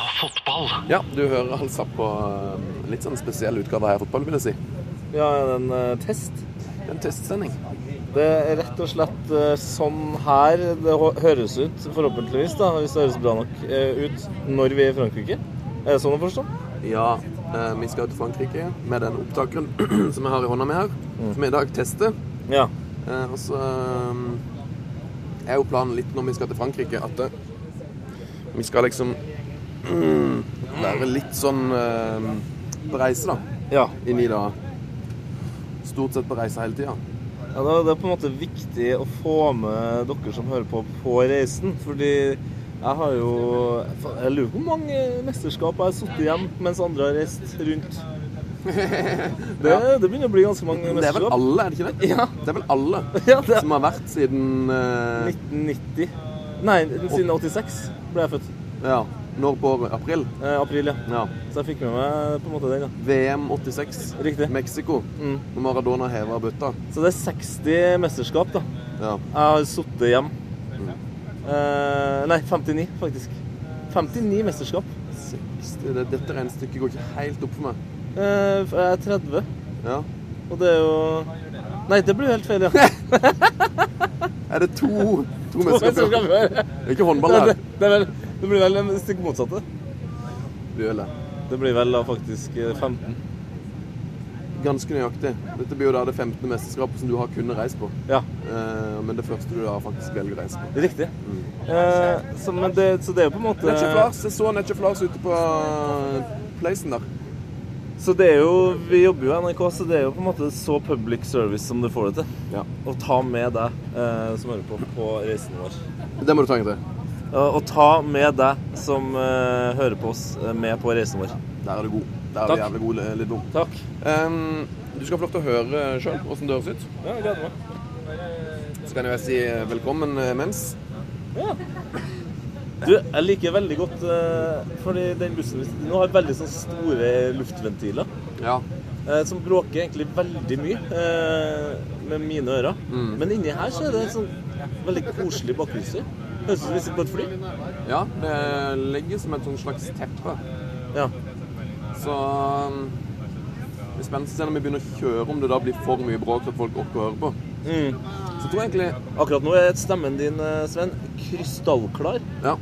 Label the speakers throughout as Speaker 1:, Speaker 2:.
Speaker 1: fotball.
Speaker 2: Ja, du hører altså på eh, litt sånn spesiell utgave av Heia fotball, vil jeg si.
Speaker 3: Vi har en eh, test.
Speaker 2: En testsending.
Speaker 3: Det er rett og slett eh, sånn her det hå- høres ut, forhåpentligvis, da, hvis det høres bra nok eh, ut, når vi er i Frankrike. Er det sånn å forstå?
Speaker 2: Ja, eh, vi skal til Frankrike med den opptakeren som jeg har i hånda mi her.
Speaker 3: Mm.
Speaker 2: Som jeg i dag tester.
Speaker 3: Ja.
Speaker 2: Eh, og så eh, er jo planen litt når vi skal til Frankrike, at eh, vi skal liksom være litt sånn eh, på reise, da.
Speaker 3: Ja.
Speaker 2: I ni dager. Stort sett på reise hele tida.
Speaker 3: ja da, det er på en måte viktig å få med dere som hører på, på reisen. Fordi jeg har jo fa- Jeg lurer på hvor mange mesterskap jeg har sittet hjem mens andre har reist rundt. Det, det begynner å bli ganske mange
Speaker 2: Det er vel
Speaker 3: mesterskap.
Speaker 2: alle, er det ikke det?
Speaker 3: Ja.
Speaker 2: Det er vel alle
Speaker 3: Ja, det er
Speaker 2: som har vært siden eh,
Speaker 3: 1990. Nei, siden 86 ble jeg født.
Speaker 2: Ja. Når på året? April?
Speaker 3: Eh, april, ja.
Speaker 2: Ja.
Speaker 3: Så jeg fikk med meg på en måte den, da.
Speaker 2: VM 86.
Speaker 3: Riktig.
Speaker 2: Mexico.
Speaker 3: Mm.
Speaker 2: Når Maradona heva bøtta.
Speaker 3: Så det er 60 mesterskap, da.
Speaker 2: Ja.
Speaker 3: Jeg har sittet hjem. Eh, nei, 59, faktisk. 59 mesterskap.
Speaker 2: 60. Det, dette regnestykket går ikke helt opp for meg.
Speaker 3: Eh, for jeg er 30,
Speaker 2: Ja.
Speaker 3: og det er jo Nei, det blir jo helt feil, ja.
Speaker 2: Er det to, to
Speaker 3: Mesterskap,
Speaker 2: mennesker?
Speaker 3: ja.
Speaker 2: Det er ikke håndball
Speaker 3: det,
Speaker 2: her.
Speaker 3: det, det, er vel, det blir vel det stikk motsatte.
Speaker 2: Det er vel det.
Speaker 3: Det blir vel da faktisk eh, 15.
Speaker 2: Ganske nøyaktig. Dette blir jo da det 15. mesterskapet som du har kunnet reise på.
Speaker 3: Ja,
Speaker 2: Eh, men det første du da faktisk velger å reise på.
Speaker 3: riktig. Eh, så, men det, så det er jo på en måte
Speaker 2: Netchef Lars. Jeg så Netchef Lars ute på eh, Placen der.
Speaker 3: Så det er jo, vi jobber jo i NRK, så det er jo på en måte så public service som du får det til.
Speaker 2: Ja.
Speaker 3: Og ta med deg eh, som hører på på reisen vår.
Speaker 2: Det må du ta en gang til.
Speaker 3: Ja, Og ta med deg som eh, hører på oss, eh, med på reisen vår.
Speaker 2: Der er du god. Der er du
Speaker 3: Takk.
Speaker 2: jævlig god, Lidbom.
Speaker 3: Takk.
Speaker 2: Um, du skal få lov til å høre sjøl åssen det høres ut.
Speaker 3: Ja, jeg gleder meg.
Speaker 2: Så kan jeg vel si eh, velkommen eh, mens.
Speaker 3: Du, jeg liker veldig godt eh, fordi den bussen vi sitter i nå har veldig sånn store luftventiler.
Speaker 2: Ja.
Speaker 3: eh, som bråker egentlig veldig mye eh, med mine ører. Men inni her så er det sånn veldig koselig bakgrunnsstøy. Høres ut som vi sitter på et fly.
Speaker 2: ja. Det ligger som et sånt slags teppe.
Speaker 3: Ja.
Speaker 2: Så um, det er spennende å se når vi begynner å kjøre, om det da blir for mye bråk til at folk orker å høre på.
Speaker 3: Mm.
Speaker 2: Så tror jeg egentlig
Speaker 3: Akkurat nå er stemmen din, eh, Sven, krystallklar.
Speaker 2: Ja.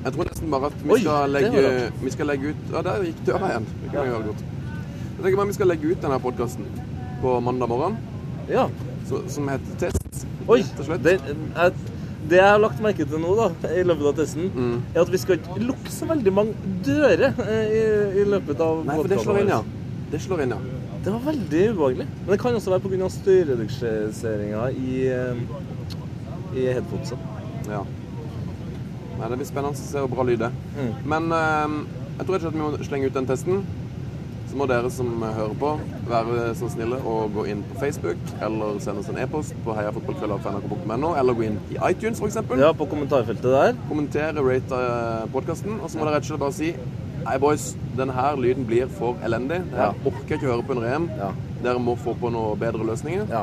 Speaker 2: Jeg tror nesten bare at vi
Speaker 3: Oi,
Speaker 2: skal,
Speaker 3: det var
Speaker 2: legge,
Speaker 3: rart.
Speaker 2: vi skal legge ut Ja, der gikk døra igjen. Det kan jeg
Speaker 3: Ja.
Speaker 2: gjøre godt. Jeg tenker bare vi skal legge ut denne podkasten på mandag morgen,
Speaker 3: Ja.
Speaker 2: så, som heter Test.
Speaker 3: Oi!
Speaker 2: Rett og slett.
Speaker 3: Det, jeg, det jeg har lagt merke til nå, da, i løpet av testen,
Speaker 2: Mm.
Speaker 3: er at vi skal ikke lukke så veldig mange dører eh, i, i løpet av
Speaker 2: Nei, for det
Speaker 3: podcasten
Speaker 2: slår inn, ja.
Speaker 3: vår.
Speaker 2: Det slår inn, ja.
Speaker 3: Det var veldig ubehagelig. Men det kan også være pga. støyreduseringa i, eh, i headphonesa.
Speaker 2: ja. Nei, det blir spennende å se hvor bra lyd det er.
Speaker 3: Mm.
Speaker 2: Men eh, jeg tror ikke at vi må slenge ut den testen. Så må dere som hører på, være så snille å gå inn på Facebook, eller sende oss en e-post på heiafotballkrøllalfa.nrk.no, eller gå inn i iTunes, f.eks.
Speaker 3: Ja, på kommentarfeltet der.
Speaker 2: Kommentere, rate podkasten, og så må dere rett og slett bare si Hei, boys. Den her lyden blir for elendig. Det her
Speaker 3: Ja.
Speaker 2: orker jeg ikke høre på en rem.
Speaker 3: Ja.
Speaker 2: Dere må få på noen bedre løsninger.
Speaker 3: Ja.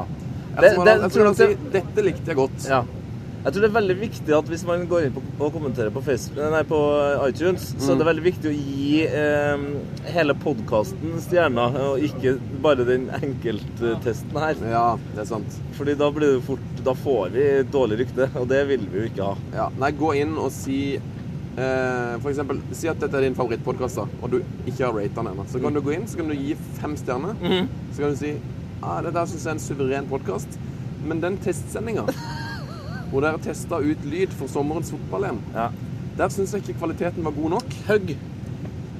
Speaker 2: Eller så må dere-
Speaker 3: Det- det-
Speaker 2: jeg tror dere
Speaker 3: tror
Speaker 2: si Dette likte jeg godt.
Speaker 3: Ja. Jeg tror det er veldig viktig at hvis man går inn på, og kommenterer på, Facebook, nei, på iTunes, så er det veldig viktig å gi eh, hele podkasten stjerner, og ikke bare den enkelttesten her.
Speaker 2: ja, det er sant.
Speaker 3: Fordi da blir det fort Da får vi dårlig rykte, og det vil vi jo ikke ha.
Speaker 2: Ja, nei, gå inn og si eh, For eksempel, si at dette er din favorittpodkast, og du ikke har ratet den ennå. Så kan du gå inn, så kan du gi fem stjerner. Så kan du si ah, dette her synes jeg er en suveren podkast, men den testsendinga hvor dere testa ut lyd for sommerens fotball-EM,
Speaker 3: Ja.
Speaker 2: der syns jeg ikke kvaliteten var god nok.
Speaker 3: Hugg.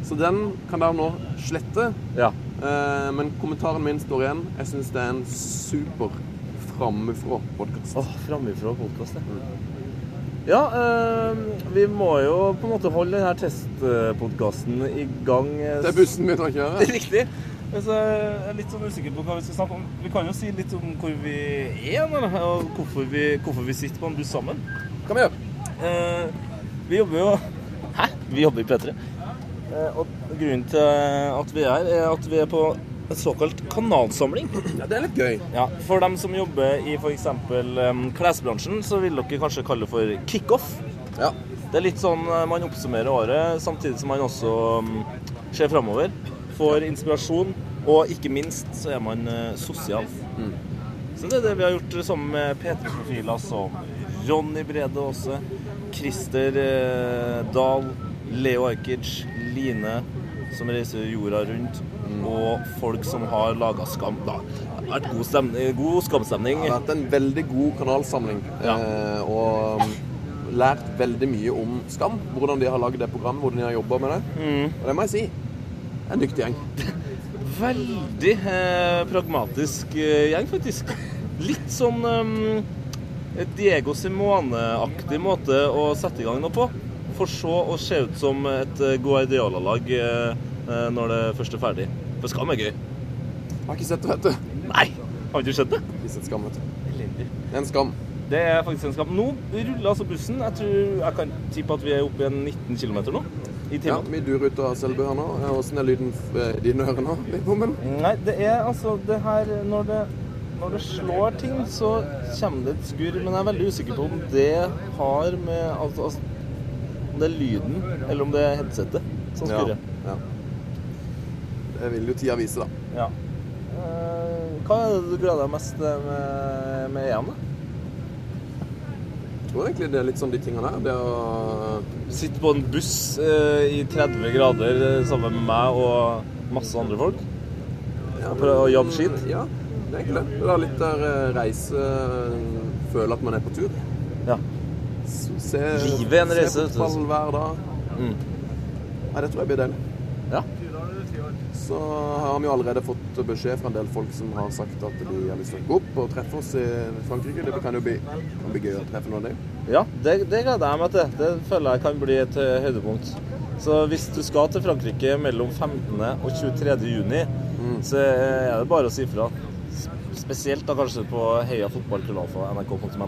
Speaker 2: Så den kan dere nå slette.
Speaker 3: Ja.
Speaker 2: Eh, men kommentaren min står igjen. Jeg syns det er en super framifrå-podkast.
Speaker 3: Åh, framifrå podkast, det. Ja, eh, vi må jo på en måte holde denne testpodkasten i gang. eh,
Speaker 2: Det er bussen begynner å kjøre.
Speaker 3: Riktig. Men så er jeg litt sånn usikker på hva vi skal snakke om. Vi kan jo si litt om hvor vi er, da, og hvorfor vi, hvorfor vi sitter på en buss sammen.
Speaker 2: Kan vi gjøre?
Speaker 3: Eh, vi jobber jo Hæ? Vi jobber i P3. Eh, og grunnen til at vi er her, er at vi er på en såkalt kanalsamling.
Speaker 2: Ja, det er litt gøy.
Speaker 3: Ja, For dem som eh, jobber i f.eks. Um, klesbransjen, så vil dere kanskje kalle det for kickoff.
Speaker 2: Ja.
Speaker 3: Det Det er litt sånn eh, man oppsummerer året, samtidig som man også mm, ser framover. Får inspirasjon, og ikke minst så er man eh, sosial. Så det er det vi har gjort sammen med P3-profiler som Ronny Brede Aase, Christer eh, Dahl, Leo Ajkic, Line, som reiser jorda rundt, og folk som har laga skam. Da. Det har vært god, stemning, god skamstemning.
Speaker 2: Det har vært en veldig god kanalsamling.
Speaker 3: Ja.
Speaker 2: Eh, og um, lært veldig mye om Skam. Hvordan de har lagd det programmet, hvordan de har jobba med det.
Speaker 3: Mm.
Speaker 2: Og det må jeg si. En dyktig gjeng.
Speaker 3: Veldig eh, pragmatisk eh, gjeng, faktisk. Litt sånn ehm, Diego Simone-aktig måte å sette i gang noe på. For så å se ut som et eh, Guardiola-lag eh, eh, når det først er ferdig. For Skam er gøy.
Speaker 2: Jeg har ikke sett det, vet du.
Speaker 3: Nei! Har ikke du sett det?
Speaker 2: Jeg har Ikke sett Skam, vet du. Det er en skam.
Speaker 3: Det er faktisk en skam. Nå ruller altså bussen. Jeg tror jeg kan tippe at vi er oppe i en 19 km nå. I
Speaker 2: Ja,
Speaker 3: timen.
Speaker 2: vi durer ut av Selbu her nå. Åssen er lyden f- i dine ører nå? Litt bommel?
Speaker 3: Nei, det er altså det her Når det, når det slår ting, så kommer det et skurr. Men jeg er veldig usikker på om det har med altså, altså, Om det er lyden, eller om det er headsetet som
Speaker 2: Ja.
Speaker 3: skurrer.
Speaker 2: ja. Det vil jo tida vise, da.
Speaker 3: Ja. Eh, Hva er det du gleder deg mest til med, med EM, da?
Speaker 2: Jeg tror egentlig det er litt sånn de tingene der. Det å
Speaker 3: Sitte på en buss eh, i 30 grader eh, sammen med meg og masse andre folk.
Speaker 2: ja,
Speaker 3: For å jobbe skitt?
Speaker 2: Ja, det er egentlig det. Det er litt der eh, reise Føle at man er på tur.
Speaker 3: Ja.
Speaker 2: S- Se,
Speaker 3: Livet er en reise,
Speaker 2: Se
Speaker 3: vet du.
Speaker 2: fotball hver dag.
Speaker 3: Mm.
Speaker 2: Nei, det tror jeg blir deilig.
Speaker 3: ja.
Speaker 2: Så har vi jo allerede fått beskjed fra en del folk som har sagt at de har lyst til å gå opp og treffe oss i Frankrike. Det kan jo bli, kan bli gøy å treffe noen av dem.
Speaker 3: Ja, det, det gleder jeg meg til. Det føler jeg kan bli et eh, høydepunkt. Så hvis du skal til Frankrike mellom 15. og 23. juni,
Speaker 2: Mm.
Speaker 3: så eh, er det bare å si ifra. S- Spesielt da kanskje på Heia fotballkrøllalfa nrk.no,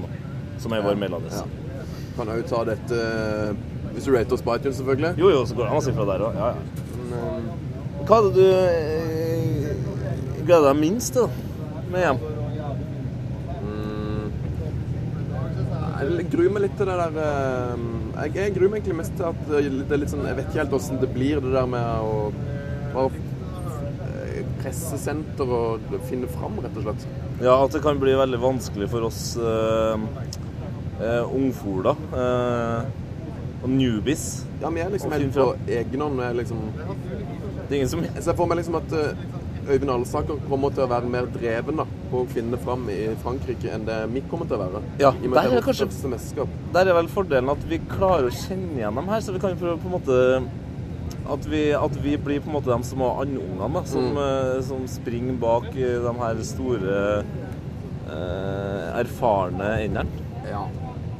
Speaker 3: som er vår mailadresse.
Speaker 2: Ja. Kan òg ta dette eh, hvis du rater oss på iTunes, selvfølgelig.
Speaker 3: Jo, jo, så går det an å si ifra der òg. Ja, ja.
Speaker 2: Men, eh,
Speaker 3: Hva er det du eh, gleder deg minst til da, med EM?
Speaker 2: Jeg gruer meg litt til det der eh, Jeg, jeg gruer meg egentlig mest til at det er litt sånn Jeg vet ikke helt åssen det blir, det der med å bare eh, pressesenter og finne fram, rett og slett.
Speaker 3: Ja, at det kan bli veldig vanskelig for oss eh, eh, ungfola eh, og newbies.
Speaker 2: Ja, vi er liksom
Speaker 3: Og
Speaker 2: helt
Speaker 3: finne
Speaker 2: på
Speaker 3: fram.
Speaker 2: egen hånd. vi er Liksom.
Speaker 3: Det er ingen som
Speaker 2: Jeg ser for meg liksom at eh, Øyvind Alsaker kommer til å være mer dreven da, på å finne fram i Frankrike enn det vi kommer til å være.
Speaker 3: Ja,
Speaker 2: I og med at
Speaker 3: der
Speaker 2: det
Speaker 3: er
Speaker 2: er vårt
Speaker 3: kanskje-
Speaker 2: største mesterskap.
Speaker 3: Der er vel fordelen at vi klarer å kjenne igjen dem her, så vi kan jo prøve på en måte at vi, at vi blir på en måte dem som har andungene, da, som, eh, som springer bak eh, de her store, eh, erfarne endene.
Speaker 2: Ja.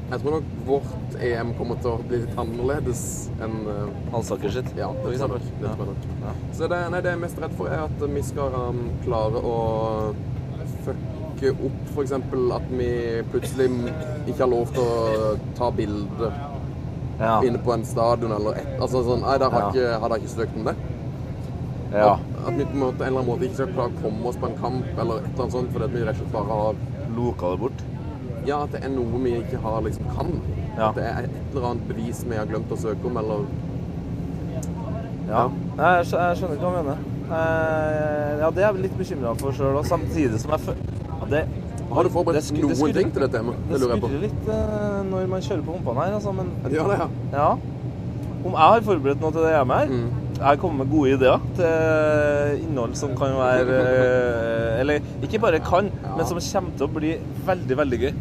Speaker 2: Jeg tror nok vårt EM kommer til å bli litt annerledes enn eh,
Speaker 3: Halsaker sitt,
Speaker 2: Ja, det
Speaker 3: for
Speaker 2: tror jeg nok.
Speaker 3: eksempel.
Speaker 2: Det
Speaker 3: Ja.
Speaker 2: tror jeg nok.
Speaker 3: Ja.
Speaker 2: Så det, nei, det jeg er mest redd for, er at vi skal um, klare å fucke opp f.eks. at vi plutselig ikke har lov til å ta bilde
Speaker 3: Ja.
Speaker 2: inne på en stadion eller et Altså sånn Nei, der har
Speaker 3: Ja.
Speaker 2: ikke, har dere ikke søkt om det.
Speaker 3: ja.
Speaker 2: At, at vi på en måte- en eller annen måte ikke skal klare å komme oss på en kamp eller et eller annet sånt fordi at vi rett og slett bare har
Speaker 3: Loka det bort.
Speaker 2: Ja, at det er noe vi ikke har liksom kan.
Speaker 3: Ja.
Speaker 2: At det er et eller annet bevis vi har glemt å søke om, eller
Speaker 3: Ja. Nei, Jeg, skjø- jeg skjønner ikke hva du mener. Eh, ja, det er jeg litt bekymra for sjøl, og samtidig som jeg føler ja, det,
Speaker 2: Har du forberedt
Speaker 3: det skur-
Speaker 2: noen
Speaker 3: det skurrer-
Speaker 2: ting til det temaet? Det
Speaker 3: Det
Speaker 2: lurer jeg på.
Speaker 3: skurrer litt eh, når man kjører på humpene her, altså, men
Speaker 2: Ja, det, ja.
Speaker 3: Ja. Om jeg har forberedt noe til det hjemme her?
Speaker 2: Mm.
Speaker 3: Jeg kommer med gode ideer til innhold som kan være eh, Eller ikke bare kan,
Speaker 2: Ja.
Speaker 3: men som kommer til å bli veldig, veldig gøy.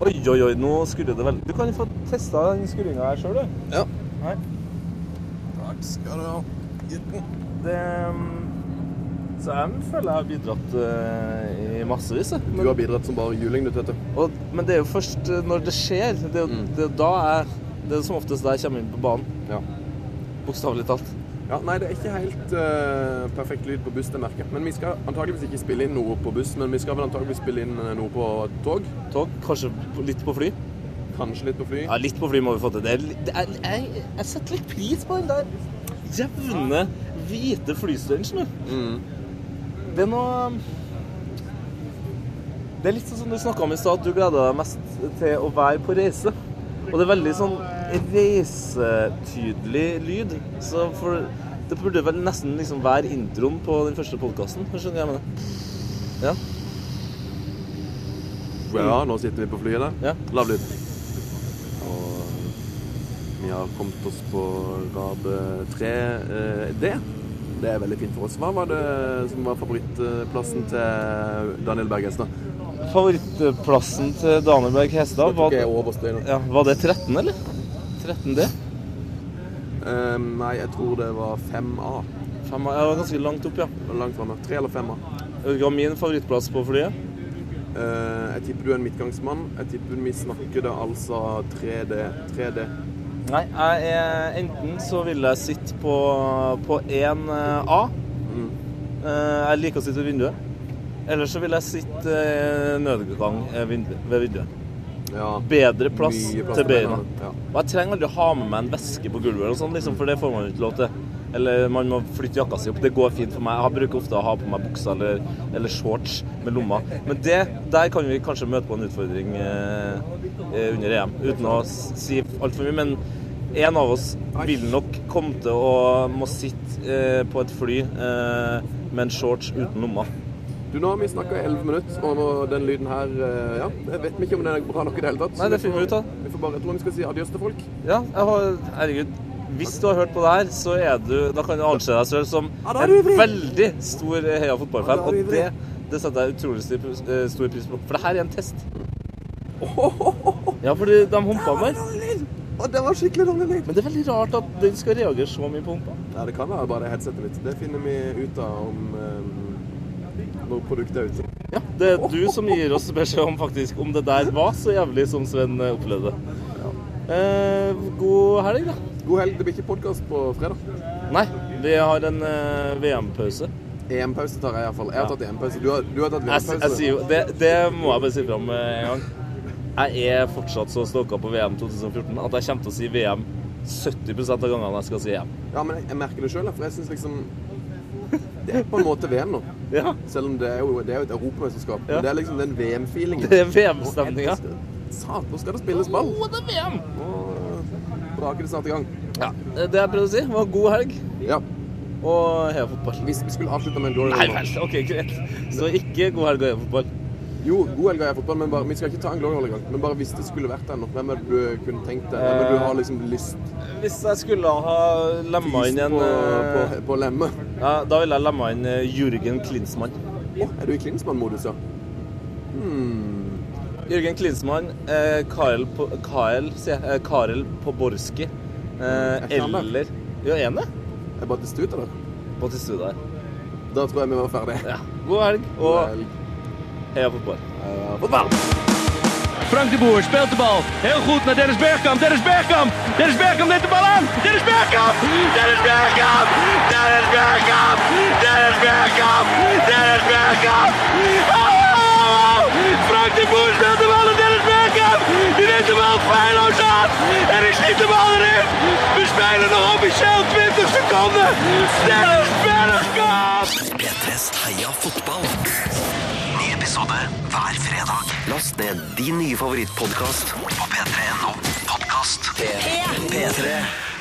Speaker 3: Oi, oi, oi, nå skurrer det veldig. Du kan få testa den skurringa her sjøl, du.
Speaker 2: ja.
Speaker 3: Her.
Speaker 2: Takk skal du ha, gutten.
Speaker 3: Det mm, Så jeg føler jeg har bidratt eh, i massevis, jeg.
Speaker 2: Du har bidratt som bare juling, du, Tete.
Speaker 3: Og, men det er jo først eh, når det skjer. Det er jo
Speaker 2: Mm.
Speaker 3: det er jo da jeg Det er som oftest da jeg kommer inn på banen.
Speaker 2: Ja.
Speaker 3: Bokstavelig talt.
Speaker 2: ja. Nei, det er ikke helt eh, perfekt lyd på buss, det merker jeg. Men vi skal antageligvis ikke spille inn noe på buss, men vi skal vel antageligvis spille inn eh, noe på tog.
Speaker 3: Tog, kanskje litt på fly.
Speaker 2: Kanskje litt på fly.
Speaker 3: Ja, litt på fly må vi få til. Det er, li- det er, jeg, jeg setter litt pris på den der jevne, hvite flystørrelsen. du.
Speaker 2: Mm.
Speaker 3: Det er noe
Speaker 1: um,
Speaker 3: Det er litt sånn som du snakka om i stad, at du gleder deg mest til å være på reise. Og det er veldig sånn
Speaker 1: reisetydelig lyd. Så for det burde vel nesten liksom være introen på den første podkasten. Skjønner du hva jeg mener? Ja.
Speaker 2: Ja, nå sitter vi på flyet der.
Speaker 1: Ja.
Speaker 2: Lav lyd. Og vi har kommet oss på rad eh, 3D. Det er veldig fint for oss. Hva var det som var favorittplassen til Daniel Berg Hestad?
Speaker 1: Favorittplassen til Daniel Berg Hestad, var, ja, var det 13, eller? 13D?
Speaker 2: Eh, Nei, jeg tror det var 5A.
Speaker 1: Fem, jeg var ganske langt opp, ja.
Speaker 2: Det var Langt framme. 3 eller 5A.
Speaker 1: Jeg vet ikke hva min favorittplass på flyet.
Speaker 2: Eh, Jeg tipper du er en midtgangsmann. Jeg tipper vi snakker det altså 3D. 3D.
Speaker 1: Nei, jeg er, enten så vil jeg sitte på, på 1A.
Speaker 2: Mm.
Speaker 1: Eh, Jeg liker å sitte ved vinduet. Eller så vil jeg sitte eh, nødgang eh, vindu- ved vinduet.
Speaker 2: Ja.
Speaker 1: Bedre plass,
Speaker 2: Mye
Speaker 1: til beina.
Speaker 2: beina. Ja.
Speaker 1: Og jeg trenger aldri å ha med meg en veske på gulvet, eller sånn, liksom, for det får man jo ikke lov til. Eller man må flytte jakka si opp. Det går fint for meg. Jeg bruker ofte å ha på meg bukser eller, eller shorts med lomma. Men det, der kan vi kanskje møte på en utfordring eh, eh, under EM, uten å s- si altfor mye. Men en av oss vil nok komme til å må sitte eh, på et fly eh, med en shorts uten lomma.
Speaker 2: Du, nå har vi snakka i 11 minutter, og nå, den lyden her eh, Ja, jeg vet ikke om den er bra nok i det hele tatt. så
Speaker 1: Nei, det
Speaker 2: vi får-
Speaker 1: finner vi ut av.
Speaker 2: Vi får bare, jeg tror vi skal si adjøs til folk.
Speaker 1: Ja, jeg har, herregud. Hvis du har hørt på det her, så er du, da kan du anse deg selv som
Speaker 2: Ja, da er
Speaker 1: en
Speaker 2: du ivrig.
Speaker 1: veldig stor eh, Heia fotballfan.
Speaker 2: Ja, da er du
Speaker 1: Og det,
Speaker 2: ivrig.
Speaker 1: det setter jeg utrolig stor pris- eh, stor pris på. For det her er en test.
Speaker 2: Ohohoho!
Speaker 1: Ja, fordi de humpa meg.
Speaker 2: lyd! Å, det var skikkelig dårlig lyd.
Speaker 1: Men det er veldig rart at den skal reagere så mye på humpa.
Speaker 2: Ja, det kan være bare headsetet mitt. Det finner vi ut av om eh, når produktet er ute.
Speaker 1: Ja, Det er du som gir oss beskjed om faktisk om det der var så jævlig som Sven eh, opplevde. Eh, god helg, da.
Speaker 2: God helg. Det blir ikke podkast på fredag.
Speaker 1: Nei, vi har en eh, VM-pause.
Speaker 2: EM-pause tar jeg iallfall. Jeg har
Speaker 1: Ja.
Speaker 2: tatt EM-pause. Du, har- du har tatt
Speaker 1: Jeg, s- jeg sier jo,
Speaker 2: VM-pause.
Speaker 1: det, det må jeg bare si fram med en gang. Jeg er fortsatt så stoka på VM 2014 at jeg kommer til å si VM 70 av gangene jeg skal si EM.
Speaker 2: Ja, men jeg, jeg merker det sjøl, for jeg syns liksom Det er på en måte VM nå.
Speaker 1: Ja,
Speaker 2: Selv om det er jo, det er jo et europamesterskap.
Speaker 1: Ja.
Speaker 2: Men Det er liksom den VM-feelingen.
Speaker 1: Det er VM-stemninga.
Speaker 2: Satan, nå skal det spilles ball.
Speaker 1: Å, det er VM!
Speaker 2: Og braker det snart i gang.
Speaker 1: Ja, Det jeg prøvde å si, var god helg
Speaker 2: Ja.
Speaker 1: og heia fotball.
Speaker 2: Hvis vi skulle avslutte med en glory
Speaker 1: Nei
Speaker 2: hole nå.
Speaker 1: vel, OK, greit. Så ikke god helg og heia fotball.
Speaker 2: Jo, god helg har jeg fotball, men bare, vi skal ikke ta en glory hole engang. Men bare hvis det skulle vært en, hvem er det du kunne tenkt deg? Hvem er det du har liksom lyst
Speaker 1: Hvis jeg skulle ha lemma inn en
Speaker 2: på, på,
Speaker 1: eh,
Speaker 2: på lemme?
Speaker 1: ja, Da ville jeg lemma inn eh, Jørgen Klinsmann.
Speaker 2: Å, er du i Klinsmann-modus, ja? Hmm.
Speaker 1: Jørgen Klinsmann, eh, Karel, på, Karel, sier jeg, eh, Karel Poborski eh,
Speaker 2: Er ikke han der?
Speaker 1: eller Ja, er han det?
Speaker 2: Jeg bare tester ut av det.
Speaker 1: Batistuta her.
Speaker 2: Da tror jeg vi var ferdige.
Speaker 1: Ja. God helg
Speaker 2: God
Speaker 1: og
Speaker 2: helg.
Speaker 1: heia fotball.
Speaker 2: Eh, Fotball!
Speaker 4: Frank de Boer speelt de bal. Heel goed naar Dennis Bergkamp. Dennis Bergkamp. Dennis Bergkamp neemt de bal aan. Dennis Bergkamp. Dennis Bergkamp. Dennis Bergkamp. Dennis Bergkamp. Dennis Bergkamp. Oh! Frank de Boer speelt de bal naar Dennis Bergkamp. Die neemt de bal feilloos aan. En ik schiet de bal erin. We spelen nog officieel 20 seconden. Dennis Bergkamp.
Speaker 3: P3s Heia fotball. Ny episode hver fredag. Last ned din nye favorittpodkast på p3.no podkast. P3.